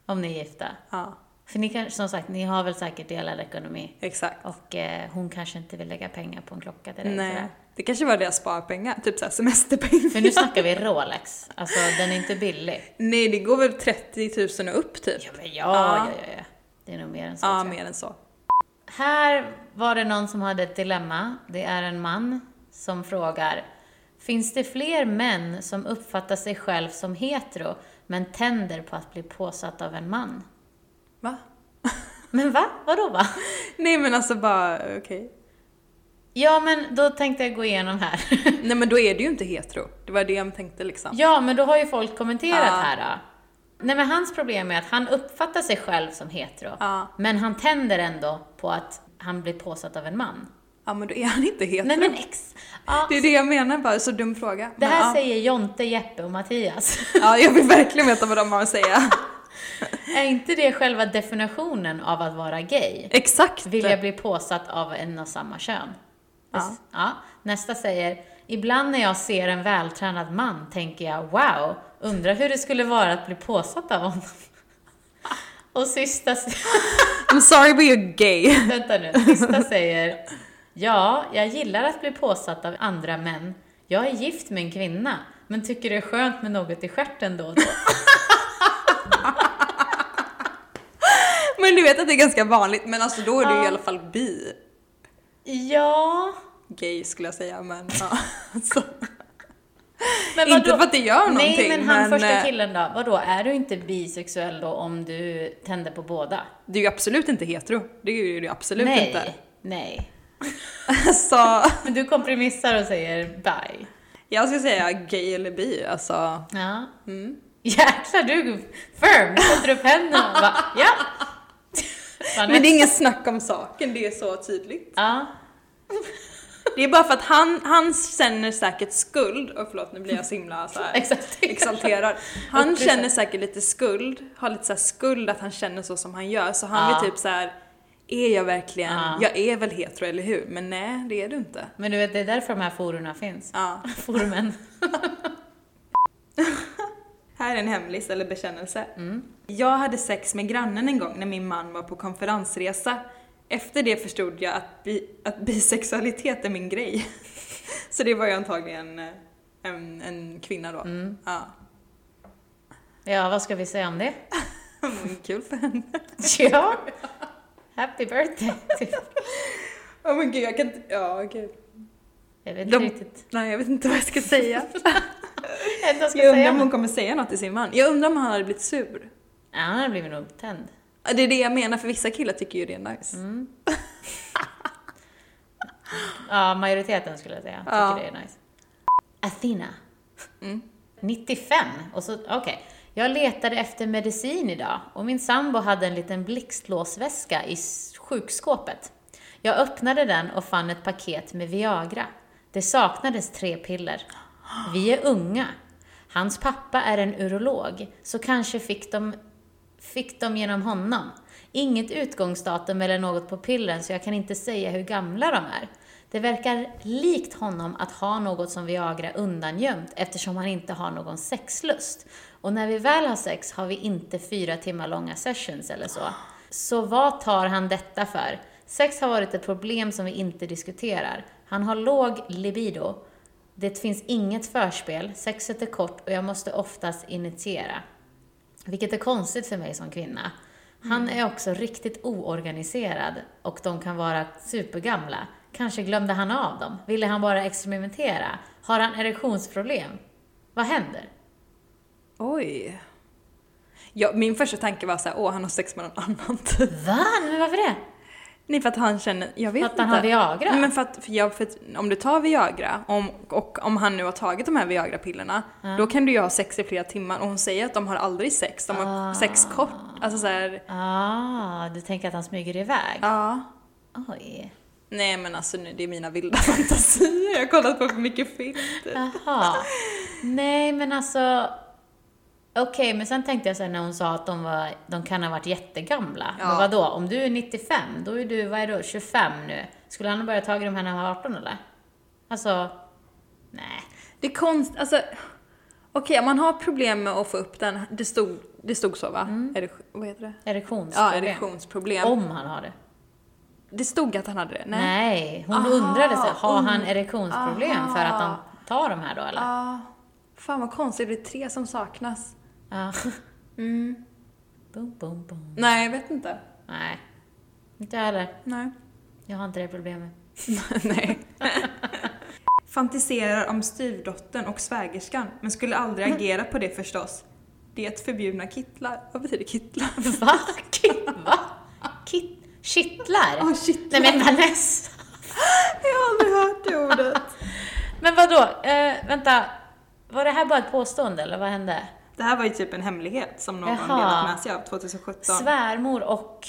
A: om ni är gifta.
B: ja,
A: För ni kanske, som sagt, ni har väl säkert delad ekonomi.
B: exakt.
A: Och eh, hon kanske inte vill lägga pengar på en klocka till dig.
B: Nej,
A: sådär.
B: det kanske var deras sparpengar, typ så här semesterpengar.
A: För nu snackar vi Rolex. Alltså den är inte billig.
B: Nej, det går väl 30 000 och upp typ.
A: Ja,
B: Ja,
A: men ja, ja, ja, ja. Det är nog mer än så. tror jag.
B: mer än så.
A: Här var det någon som hade ett dilemma. Det är en man som frågar. Finns det fler män som uppfattar sig själv som hetero men tänder på att bli påsatt av en man?
B: Va?
A: Men va? Vadå va?
B: Nej men alltså bara okej.
A: Ja, men då tänkte jag gå igenom här.
B: Nej men då är det ju inte hetero. Det var det jag tänkte liksom.
A: Ja, men då har ju folk kommenterat
B: Ja.
A: här då. Nej men hans problem är att han uppfattar sig själv som hetero.
B: Ja.
A: Men han tänder ändå på att han blir påsatt av en man.
B: Ja men då är han inte hetero.
A: Nej men ex... Ja,
B: Det är det jag menar bara, så dum fråga.
A: det här
B: men,
A: säger Jonte, Jeppe och Mattias.
B: ja. ja, jag vill verkligen veta vad de har att säga.
A: är inte det själva definitionen av att vara gay?
B: Exakt!
A: Vill jag bli påsatt av en och samma kön?
B: Ja.
A: ja. Nästa säger, ibland när jag ser en vältränad man tänker jag, wow, undrar hur det skulle vara att bli påsatt av honom. och sista,
B: I'm sorry but you're gay.
A: Vänta nu, sista säger Ja, jag gillar att bli påsatt av andra män. Jag är gift med en kvinna, men tycker det är skönt med något i stjärten då och då.
B: Men du vet att det är ganska vanligt, men alltså då är du i alla fall bi.
A: Ja,
B: Gay skulle jag säga, men ja. Alltså,
A: men
B: inte för att det gör någonting,
A: Nej, men han första
B: eh,
A: killen då, vadå, är du inte bisexuell då om du tänder på båda?
B: det är ju absolut inte hetero. Det är ju det absolut
A: nej,
B: inte.
A: nej.
B: Alltså,
A: Men du kompromissar och säger bye.
B: jag skulle säga gay eller bi, alltså.
A: Ja. Jäklar, du är firm, du sätter upp händerna och bara, ja.
B: Men det är inget snack om saken, det är så tydligt.
A: Ja.
B: Det är bara för att han, han känner säkert skuld, och förlåt nu blir jag så himla så här
A: Exalterad.
B: exalterad. Han
A: Upplysa.
B: känner säkert lite skuld, har lite så här skuld att han känner så som han gör, så han
A: Ja.
B: vill typ så här. Är jag verkligen,
A: Ja.
B: jag är väl hetero eller hur? Men nej, det är du inte.
A: Men du vet, det är därför de här fororna finns.
B: Ja.
A: Forumen.
B: Här är en hemlis eller bekännelse.
A: Mm.
B: Jag hade sex med grannen en gång när min man var på konferensresa. Efter det förstod jag att, bi- att bisexualitet är min grej. Så det var ju antagligen eh, en, en kvinna då.
A: Mm.
B: Ja.
A: Ja, vad ska vi säga om det?
B: Mm, Kul för henne.
A: Ja. Happy birthday, typ.
B: Oh men gud, jag kan inte... Ja, gud.
A: Jag vet inte
B: De-
A: riktigt.
B: Nej, jag vet inte vad jag ska säga.
A: Ändå ska
B: jag undrar
A: säga
B: om hon
A: något.
B: kommer säga något till sin man. Jag undrar om han hade blivit sur.
A: Ja, han hade blivit nog tänd.
B: Ja, Det är det jag menar, för vissa killar tycker ju det är nice.
A: Ja, majoriteten skulle jag säga. Tycker
B: Ja.
A: det är nice. Athena. 95. Och så, okej. Jag letade efter medicin idag och min sambo hade en liten blixtlåsväska i s- sjukskåpet. Jag öppnade den och fann ett paket med Viagra. Det saknades tre piller. Vi är unga. Hans pappa är en urolog, så kanske fick de, fick de genom honom. Inget utgångsdatum eller något på pillren, så jag kan inte säga hur gamla de är. Det verkar likt honom att ha något som Viagra undangömt eftersom han inte har någon sexlust. Och när vi väl har sex har vi inte fyra timmar långa sessions eller så. Så vad tar han detta för? Sex har varit ett problem som vi inte diskuterar. Han har låg libido. Det finns inget förspel, sexet är kort och jag måste oftast initiera. Vilket är konstigt för mig som kvinna. Han är också riktigt oorganiserad och de kan vara supergamla. Kanske glömde han av dem? Ville han bara experimentera? Har han erektionsproblem? Vad händer?
B: Oj. Ja, min första tanke var så här, åh han har sex med någon annan typ.
A: Va? Men varför det?
B: Nej för att han känner, jag vet
A: För att
B: inte.
A: han har Viagra?
B: Nej, men för att, för jag, för att om du tar Viagra om, och om han nu har tagit de här Viagra-pillerna
A: Mm.
B: då kan du ju ha sex i flera timmar och hon säger att de har aldrig sex, de har sex kort. Alltså så här,
A: Ah, du tänker att han smyger iväg?
B: ja.
A: Oj.
B: Nej men alltså nu, det är mina vilda fantasier, jag har kollat på för mycket film. typ.
A: Jaha. Nej, men alltså... Okej, men sen tänkte jag sen när hon sa att de, var, de kan ha varit jättegamla.
B: Ja.
A: Men vadå, om du är 95, då är du, vad är du, 25 nu? Skulle han ha börjat ta de här när han var 18 eller? Alltså, nej.
B: Det är konst, alltså okej om man har problem med att få upp den, det stod, det stod så va? Erik, vad heter det?
A: Erektionsproblem.
B: Ja, erektionsproblem.
A: Om han har det.
B: Det stod att han hade det? Nej.
A: Nej, hon
B: Aha,
A: undrade sig, har han
B: und-
A: erektionsproblem
B: Aha.
A: för att han tar de här då eller?
B: Ja. Fan vad konstigt, det är tre som saknas.
A: Ja. Mm. Boom, boom, boom.
B: Nej, jag vet inte.
A: Nej, inte jag heller.
B: Nej.
A: Jag har inte det problemet.
B: Nej. Fantiserar om styvdottern och svägerskan, men skulle aldrig agera på det förstås. Det förbjudna kittlar. Vad betyder kittlar?
A: Va? Ki- Va? Ki- kittlar?
B: Ja, kittlar.
A: Nej men Vanessa!
B: Jag har aldrig hört det ordet.
A: Men vadå, eh, vänta. Var det här bara ett påstående eller vad hände?
B: Det här var ju typ en hemlighet som någon
A: Jaha.
B: delat med sig av 2017.
A: Svärmor och...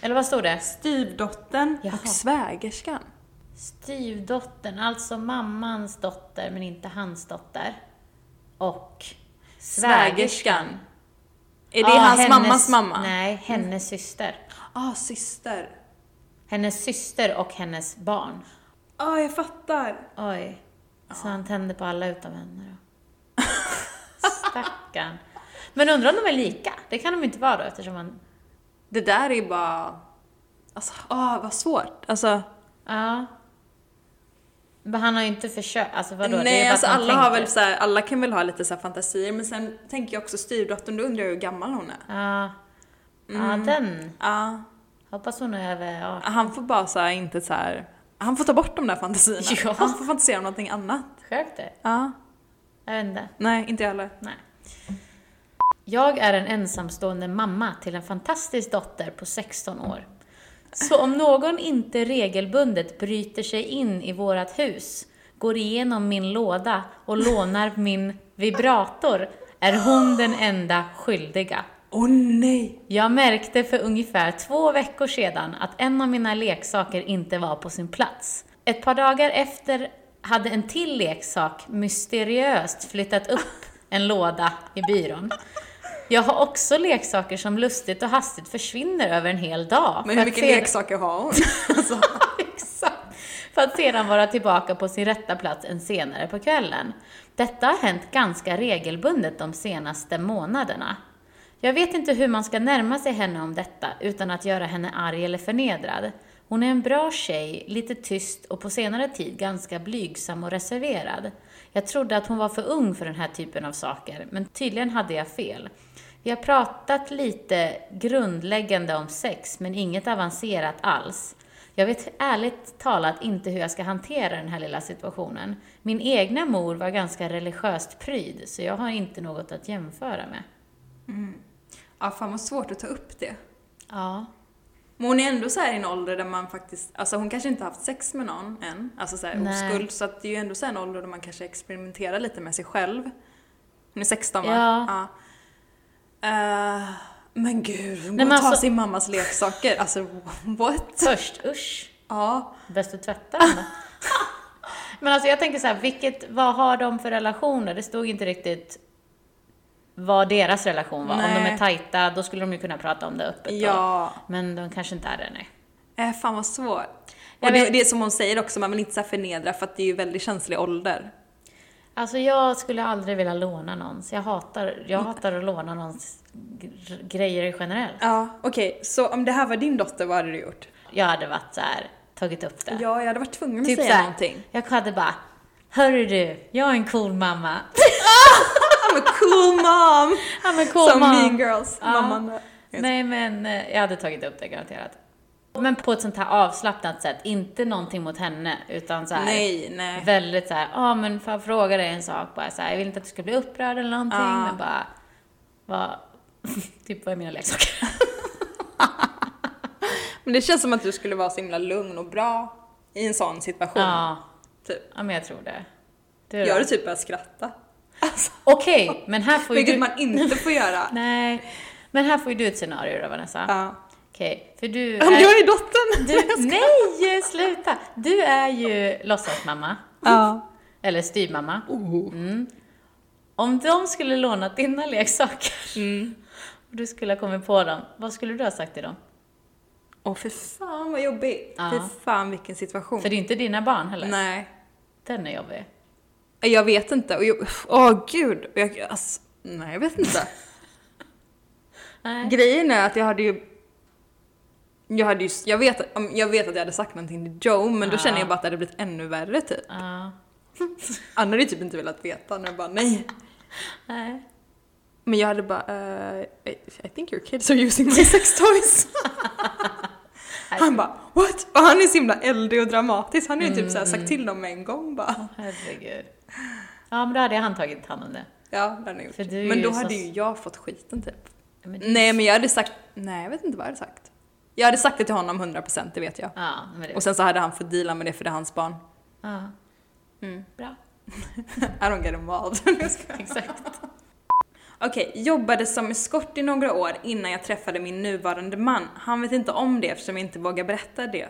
A: Eller vad stod det?
B: Styvdottern
A: Jaha.
B: och svägerskan.
A: Styvdottern, alltså mammans dotter men inte hans dotter. Och...
B: Svägerskan. Är det
A: Ja,
B: hans
A: hennes-
B: mammas mamma?
A: Nej, hennes syster.
B: Ah, syster.
A: Hennes syster och hennes barn.
B: Ja, Ah, jag fattar.
A: Oj. Så han tände på alla utom henne då. Stackarn. Men undrar om de är lika? Det kan de inte vara då eftersom man...
B: Det där är bara... Alltså, ah, vad svårt. Alltså,
A: Ja. Men han har ju inte försökt, alltså vadå? Det är
B: nej,
A: bara
B: alltså
A: att han
B: alla, har
A: tänker.
B: väl så här, alla kan väl ha lite så här fantasier, men sen tänker jag också styvdottern, då undrar jag hur gammal hon är.
A: Ja. Ja,
B: Mm.
A: den.
B: Ja,
A: Hoppas hon är över... Ja.
B: Ah. han får bara så här, inte så här... Han får ta bort de där fantasierna.
A: Ja.
B: Han får fantisera om någonting annat.
A: Skönt det.
B: Ja,
A: Jag vet inte.
B: nej, inte jag heller.
A: Nej. Jag är en ensamstående mamma till en fantastisk dotter på 16 år. Så om någon inte regelbundet bryter sig in i vårt hus, går igenom min låda och lånar min vibrator, är hon den enda skyldiga.
B: Åh oh, nej!
A: Jag märkte för ungefär två veckor sedan att en av mina leksaker inte var på sin plats. Ett par dagar efter hade en till leksak mysteriöst flyttat upp en låda i byrån. Jag har också leksaker som lustigt och hastigt försvinner över en hel dag. för
B: Men hur
A: att
B: mycket
A: sedan-
B: leksaker har hon? alltså,
A: Exakt. För att sedan vara tillbaka på sin rätta plats en senare på kvällen. Detta har hänt ganska regelbundet de senaste månaderna. Jag vet inte hur man ska närma sig henne om detta utan att göra henne arg eller förnedrad. Hon är en bra tjej, lite tyst och på senare tid ganska blygsam och reserverad. Jag trodde att hon var för ung för den här typen av saker, men tydligen hade jag fel. Vi har pratat lite grundläggande om sex, men inget avancerat alls. Jag vet ärligt talat inte hur jag ska hantera den här lilla situationen. Min egna mor var ganska religiöst pryd, så jag har inte något att jämföra med.
B: ja, fan vad svårt att ta upp det.
A: Ja.
B: Men hon är ändå så här i en ålder där man faktiskt, alltså hon kanske inte haft sex med någon än, alltså så här
A: Nej.
B: oskuld, så att det är ju ändå så här en ålder där man kanske experimenterar lite med sig själv. Hon är 16 va?
A: Ja.
B: Eh, men gud, hon
A: Nej,
B: går
A: men
B: och tar
A: alltså-
B: sin mammas leksaker, alltså what?
A: Först, usch.
B: Ja,
A: Bäst att tvätta den då. Men alltså jag tänker så här, vilket, vad har de för relationer? Det stod inte riktigt vad deras relation var. Om de är
B: Nej.
A: tajta, då skulle de ju kunna prata om det öppet. då.
B: Ja.
A: Men de kanske inte är det, nej.
B: Äh, fan vad svårt.
A: Jag
B: Och det,
A: vet-
B: det är som hon säger också, man vill inte så här förnedra för att det är ju väldigt känslig ålder.
A: Alltså jag skulle aldrig vilja låna någons. Jag hatar, jag hatar att låna någons gr- grejer generellt.
B: Ja, okej. Så om det här var din dotter, vad hade du gjort?
A: Jag hade varit så här, tagit upp det.
B: Ja, jag hade varit tvungen att
A: typ
B: säga
A: så här,
B: någonting.
A: Jag hade bara, hörru du, jag är en cool mamma.
B: I'm a cool mom!
A: Ja men cool
B: som
A: mamma.
B: Mean Girls,
A: Ja.
B: mamman.
A: Nej men eh, jag hade tagit upp det garanterat. Men på ett sånt här avslappnat sätt, inte någonting mot henne utan så här,
B: Nej, nej.
A: väldigt så här, ja ah, men får jag fråga dig en sak bara så här, jag vill inte att du ska bli upprörd eller någonting
B: Ja.
A: men bara, vad, typ vad är mina leksaker?
B: Men det känns som att du skulle vara så himla lugn och bra i en sån situation.
A: ja,
B: Typ.
A: ja men jag tror det. Du
B: Jag
A: då?
B: hade typ börjat skratta. Alltså,
A: Okej, men här får ju
B: vilket
A: du...
B: man inte får göra.
A: Nej, men här får ju du ett scenario då Vanessa.
B: Ja.
A: Okej, för du...
B: Om
A: är-
B: jag är dottern!
A: Du, nej, sluta! Du är ju låtsasmamma,
B: Ja.
A: eller styvmamma.
B: Oh.
A: Om de skulle låna dina leksaker
B: Mm.
A: och du skulle ha kommit på dem, vad skulle du ha sagt till dem?
B: Åh, fy fan vad jobbigt.
A: Ja.
B: Fy fan vilken situation.
A: För det är inte dina barn heller.
B: Nej.
A: Den är jobbig.
B: Jag vet inte. Och jag- Åh gud. Jag, alltså, nej, jag vet inte.
A: Nej.
B: Grejen är att jag hade ju... Jag, hade ju, jag, vet, om- jag vet att jag hade sagt någonting till Joe, men då
A: Ja.
B: känner jag bara att det hade blivit ännu värre typ.
A: Ja.
B: Han hade ju typ inte velat veta, när jag bara nej.
A: Nej.
B: Men jag hade bara, eh, I, I think your kids are using my sex toys. han bara, what? Och han är så himla eldig och dramatisk. Han har ju typ så här
A: Mm.
B: sagt till dem en gång bara.
A: Herregud. Ja, men då hade han tagit hand om det.
B: Ja, det hade han gjort.
A: För du är
B: Men
A: ju
B: då
A: så-
B: hade ju jag fått skiten typ.
A: Men det-
B: Nej, men jag hade sagt, nej jag vet inte vad jag hade sagt. Jag hade sagt det till honom 100%, det vet jag.
A: Ja, men det...
B: Och sen så hade han fått deala med det för det är hans barn.
A: Ja.
B: Mm.
A: Bra.
B: I don't get involved. Jag skojar.
A: Exakt.
B: Okej, jobbade som eskort i några år innan jag träffade min nuvarande man. Han vet inte om det eftersom jag inte vågar berätta det,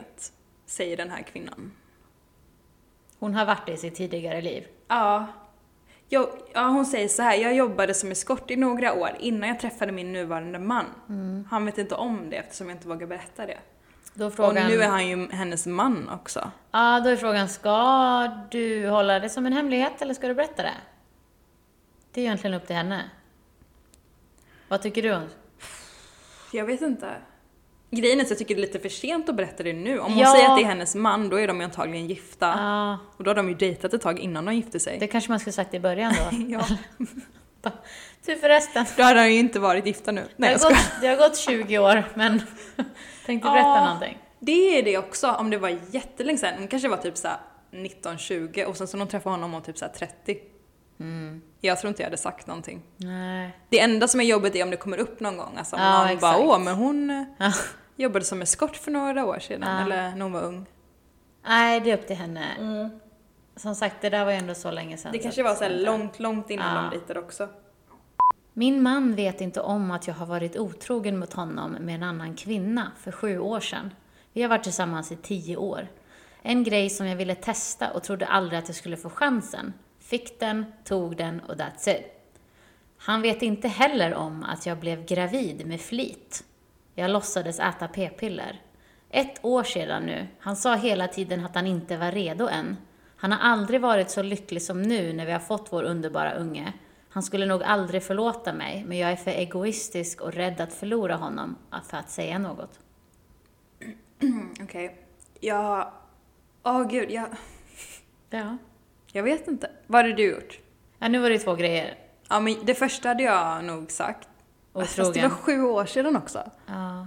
B: säger den här kvinnan.
A: Hon har varit det i sitt tidigare liv.
B: Ja. Jag, ja, hon säger så här, jag jobbade som eskort i några år innan jag träffade min nuvarande man. Han vet inte om det eftersom jag inte vågar berätta det.
A: Då frågan...
B: Och nu är han ju hennes man också.
A: Ja, då är frågan, ska du hålla det som en hemlighet eller ska du berätta det? Det är egentligen upp till henne. Vad tycker du? om-
B: Jag vet inte. Grejen är att jag tycker det är lite för sent att berätta det nu. Om hon
A: Ja.
B: säger att det är hennes man, då är de ju antagligen gifta.
A: Ja,
B: Och då har de ju dejtat ett tag innan de gifte sig.
A: det kanske man skulle sagt i början då.
B: Ja.
A: Du förresten,
B: Då hade han ju inte varit gifta nu.
A: det
B: Nej,
A: har,
B: jag skojar.
A: gått, det har gått 20 år, men tänkte
B: Ja.
A: berätta någonting.
B: Det är det också, om det var jättelänge sedan. Hon kanske var typ såhär 19-20 och sen så hon träffade honom hon typ såhär 30.
A: Mm.
B: Jag tror inte jag hade sagt någonting.
A: Nej.
B: Det enda som är jobbigt är om det kommer upp någon gång. Alltså om
A: Ja,
B: någon bara
A: exakt.
B: åh, men hon eh,
A: Ja.
B: jobbade som eskort för några år sedan.
A: Ja.
B: Eller när hon var ung.
A: Nej, det är upp till henne. Som sagt, det där var ju ändå så länge sedan.
B: Mm.
A: så
B: Det kanske
A: att-
B: var såhär långt, långt innan
A: Ja.
B: de dejtade också.
A: Min man vet inte om att jag har varit otrogen mot honom med en annan kvinna för sju år sedan. Vi har varit tillsammans i tio år. En grej som jag ville testa och trodde aldrig att jag skulle få chansen. Fick den, tog den och that's it. Han vet inte heller om att jag blev gravid med flit. Jag låtsades äta p-piller. Ett år sedan nu. Han sa hela tiden att han inte var redo än. Han har aldrig varit så lycklig som nu när vi har fått vår underbara unge. Han skulle nog aldrig förlåta mig, men jag är för egoistisk och rädd att förlora honom för att säga något.
B: Mm, Okej. Jag... Åh gud, jag...
A: Ja.
B: Jag vet inte. Vad hade du gjort?
A: ja nu var det två grejer.
B: Ja, men det första hade jag nog sagt. Alltså, Fast det
A: Otrogen.
B: var sju år sedan också.
A: Ja.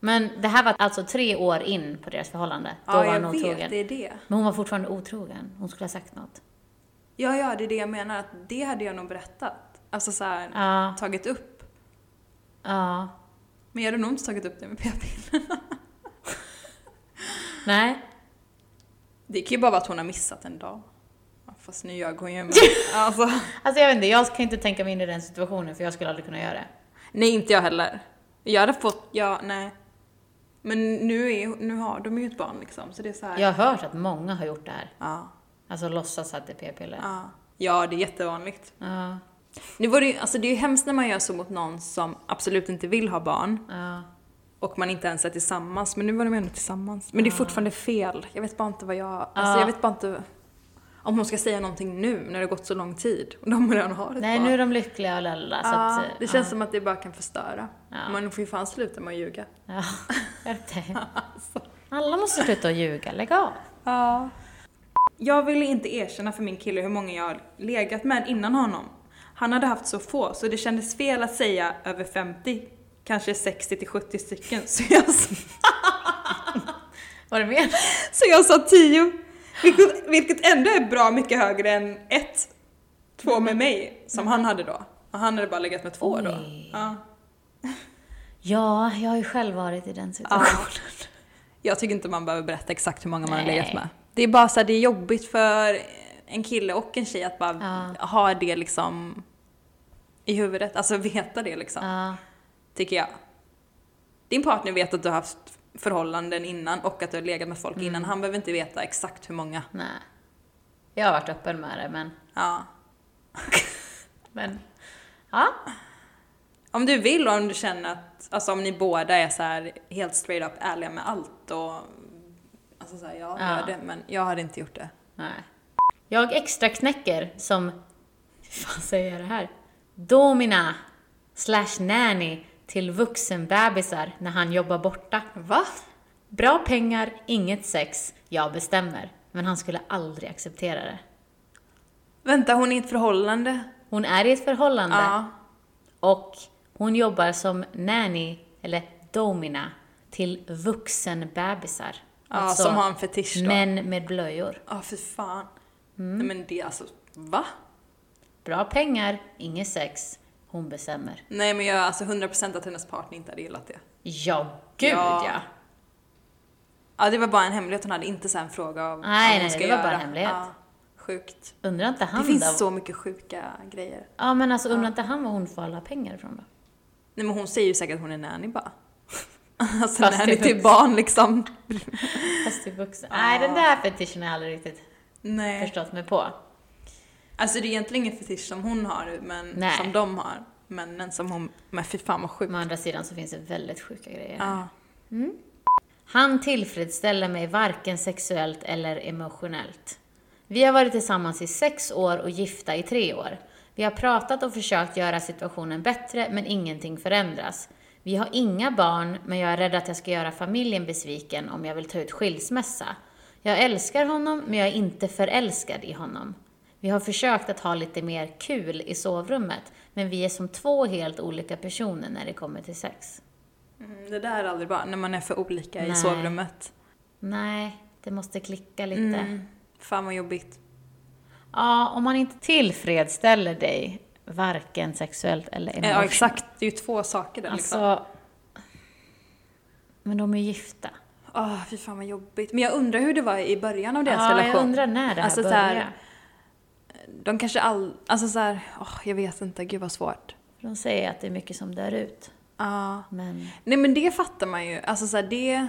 A: Men det här var alltså tre år in på deras förhållande. Då
B: Ja,
A: var
B: jag
A: han
B: vet,
A: otrogen.
B: det är det.
A: Men hon var fortfarande otrogen. Hon skulle ha sagt något.
B: Ja, ja, det är det jag menar. Att det hade jag nog berättat. Alltså så här,
A: Ja.
B: tagit upp.
A: Ja.
B: Men jag hade nog inte tagit upp det med p-piller.
A: Nej.
B: Det kan ju bara vara att hon har missat en dag. Ja, Fast nu ljög hon ju. Men, alltså.
A: Alltså jag vet inte, jag kan inte tänka mig in i den situationen för jag skulle aldrig kunna göra det.
B: Nej, inte jag heller. Jag hade fått, ja, nej. Men nu, är, nu har de ju ett barn liksom, så det är så här.
A: Jag har hört att många har gjort det här.
B: Ja.
A: Alltså låtsas att det är p-piller.
B: Ja. ja, det är jättevanligt.
A: Ja.
B: Nu var det, ju, alltså det är ju hemskt när man gör så mot någon som absolut inte vill ha barn
A: Ja.
B: och man inte ens är tillsammans, men nu var de ju ändå tillsammans. Men det är fortfarande fel. Jag vet bara inte vad jag... Alltså jag vet bara inte om hon ska säga någonting nu när det har gått så lång tid och de redan har ett
A: Nej,
B: barn.
A: nu är de lyckliga och lalala. Så
B: ja,
A: att,
B: det känns som att ah. det bara kan förstöra.
A: Ja.
B: Man får ju fan sluta med att ljuga.
A: Ja, skärp dig. Alltså. Alla måste sluta att ljuga, lägg av.
B: Ja. Ah. Jag ville inte erkänna för min kille hur många jag har legat med innan honom. Han hade haft så få, så det kändes fel att säga över 50, kanske 60 till 70 stycken. Så jag,
A: Var det mer?
B: så jag sa 10. Vilket, vilket ändå är bra mycket högre än ett, två
A: Mm.
B: med mig, som han hade då. Och han hade bara legat med två då.
A: Oj.
B: Ja.
A: Ja, jag har ju själv varit i den situationen.
B: Jag tycker inte man behöver berätta exakt hur många man har
A: Nej.
B: legat med. Det är bara så här, det är jobbigt för en kille och en tjej att bara ha det liksom i huvudet, alltså veta det liksom,
A: Ja.
B: tycker jag. Din partner vet att du har haft förhållanden innan och att du har legat med folk
A: Mm.
B: innan. Han behöver inte veta exakt hur många.
A: Nej. Jag har varit öppen med det, men...
B: Ja.
A: men ja.
B: Om du vill och om du känner att, alltså om ni båda är så här helt straight up ärliga med allt och alltså så här, ja,
A: Ja.
B: gör det, men jag hade inte gjort det.
A: Nej. Jag extra knäcker som... Hur fan säger jag det här? Domina slash nanny till vuxenbebisar när han jobbar borta.
B: Va?
A: Bra pengar, inget sex, jag bestämmer. Men han skulle aldrig acceptera det.
B: Vänta, hon är i ett förhållande?
A: Hon är i ett förhållande
B: Ja.
A: och hon jobbar som nanny, eller domina, till vuxenbebisar.
B: Ja,
A: Alltså,
B: som har en fetisch då.
A: Män med blöjor.
B: Ja, fy fan.
A: Mm.
B: Nej men det är alltså, va?
A: Bra pengar, inget sex, hon bestämmer.
B: Nej men jag är alltså 100% att hennes partner inte hade gillat det.
A: Ja, gud ja!
B: Ja. Ja, det var bara en hemlighet hon hade, inte så här en fråga om
A: Nej,
B: om hon
A: nej,
B: ska
A: det var bara
B: göra.
A: en hemlighet.
B: Ja, sjukt.
A: Undrar inte
B: Det
A: han då?
B: finns så mycket sjuka grejer.
A: Ja, men alltså undrar inte han var hon får alla pengar ifrån då?
B: Nej men hon säger ju säkert att hon är nanny bara. alltså
A: Fast
B: nanny
A: det-
B: till barn liksom.
A: Fast till vuxen. Nej, den där fetischen har jag aldrig riktigt
B: Nej.
A: förstått mig på.
B: Alltså det är egentligen ingen fetisch som hon har, men
A: Nej.
B: som de har. Männen som hon, men fy fan vad sjukt.
A: Men å andra sidan så finns det väldigt sjuka grejer.
B: Ja.
A: Han tillfredsställer mig varken sexuellt eller emotionellt. Vi har varit tillsammans i sex år och gifta i tre år. Vi har pratat och försökt göra situationen bättre, men ingenting förändras. Vi har inga barn, men jag är rädd att jag ska göra familjen besviken om jag vill ta ut skilsmässa. Jag älskar honom, men jag är inte förälskad i honom. Vi har försökt att ha lite mer kul i sovrummet, men vi är som två helt olika personer när det kommer till sex.
B: Mm, det där är aldrig bra, när man är för olika i
A: Nej.
B: sovrummet.
A: Nej, det måste klicka lite.
B: Mm. Fan vad jobbigt.
A: Ja, om man inte tillfredsställer dig, varken sexuellt eller
B: Ja,
A: emotionellt.
B: exakt. Det är ju två saker där liksom.
A: Alltså, men de är gifta.
B: Åh, fy fan vad jobbigt. Men jag undrar hur det var i början av deras
A: Ja,
B: relation.
A: jag undrar när det här
B: Alltså, så här-
A: börjar.
B: De kanske all... Alltså så här, åh, jag vet inte, gud vad svårt.
A: De säger att det är mycket som dör ut,
B: Ja.
A: men
B: Nej men det fattar man ju. Alltså så här, det...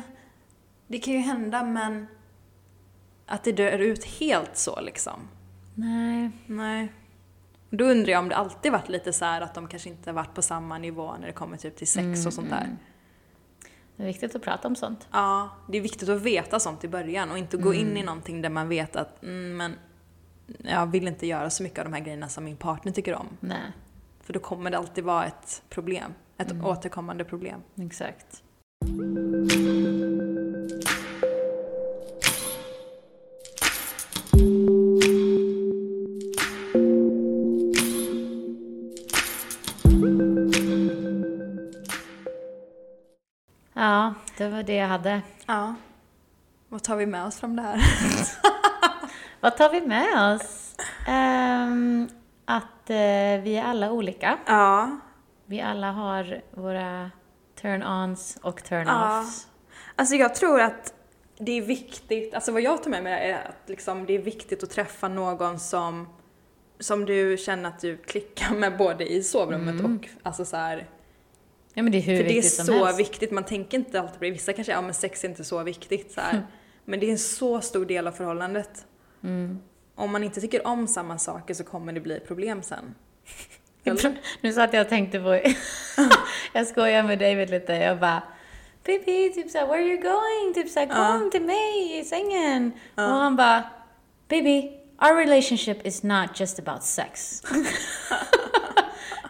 B: Det kan ju hända men... Att det dör ut helt så liksom.
A: nej.
B: Nej. Då undrar jag om det alltid varit lite så här att de kanske inte varit på samma nivå när det kommer typ till sex och sånt där.
A: Det är viktigt att prata om sånt.
B: Ja, det är viktigt att veta sånt i början och inte gå in i någonting där man vet att mm, men jag vill inte göra så mycket av de här grejerna som min partner tycker om.
A: Nej,
B: För då kommer det alltid vara ett problem. Ett återkommande problem.
A: exakt. Ja, det var det jag hade.
B: Ja. Vad tar vi med oss från det här?
A: Vad tar vi med oss? Ehm, att eh, vi är alla olika.
B: Ja.
A: Vi alla har våra turn-ons och
B: Ja.
A: turn-offs.
B: Alltså jag tror att det är viktigt, alltså vad jag tar med mig är att liksom det är viktigt att träffa någon som, som du känner att du klickar med både i sovrummet och alltså så här,
A: Ja. men det är hur
B: För det är
A: Mm. viktigt som
B: så
A: helst.
B: viktigt, man tänker inte alltid på det. Vissa kanske, ja
A: Mm. Mm.
B: men sex är inte så viktigt så här. Men det är en så stor del av förhållandet. om man inte tycker om samma saker så kommer det bli problem sen.
A: Nu satt jag och tänkte på... jag skojar med David lite. Jag bara... Pippi, typ såhär, where are you going? Typ såhär, kom till mig i sängen. Och han bara... Baby, our relationship is not just about sex.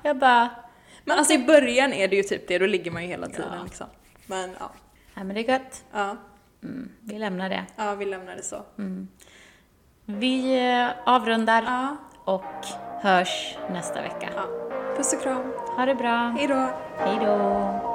A: jag bara...
B: Men alltså i början är det ju typ det, då ligger man ju hela tiden
A: Ja.
B: liksom. Men ja.
A: Nej men det är gött.
B: ja,
A: Mm, vi lämnar det.
B: ja, vi lämnar det så.
A: Mm. Vi eh, avrundar
B: Ja,
A: och hörs nästa vecka.
B: ja. Puss och kram, 啊
A: Ha det bra.
B: hejdå!
A: Hej då.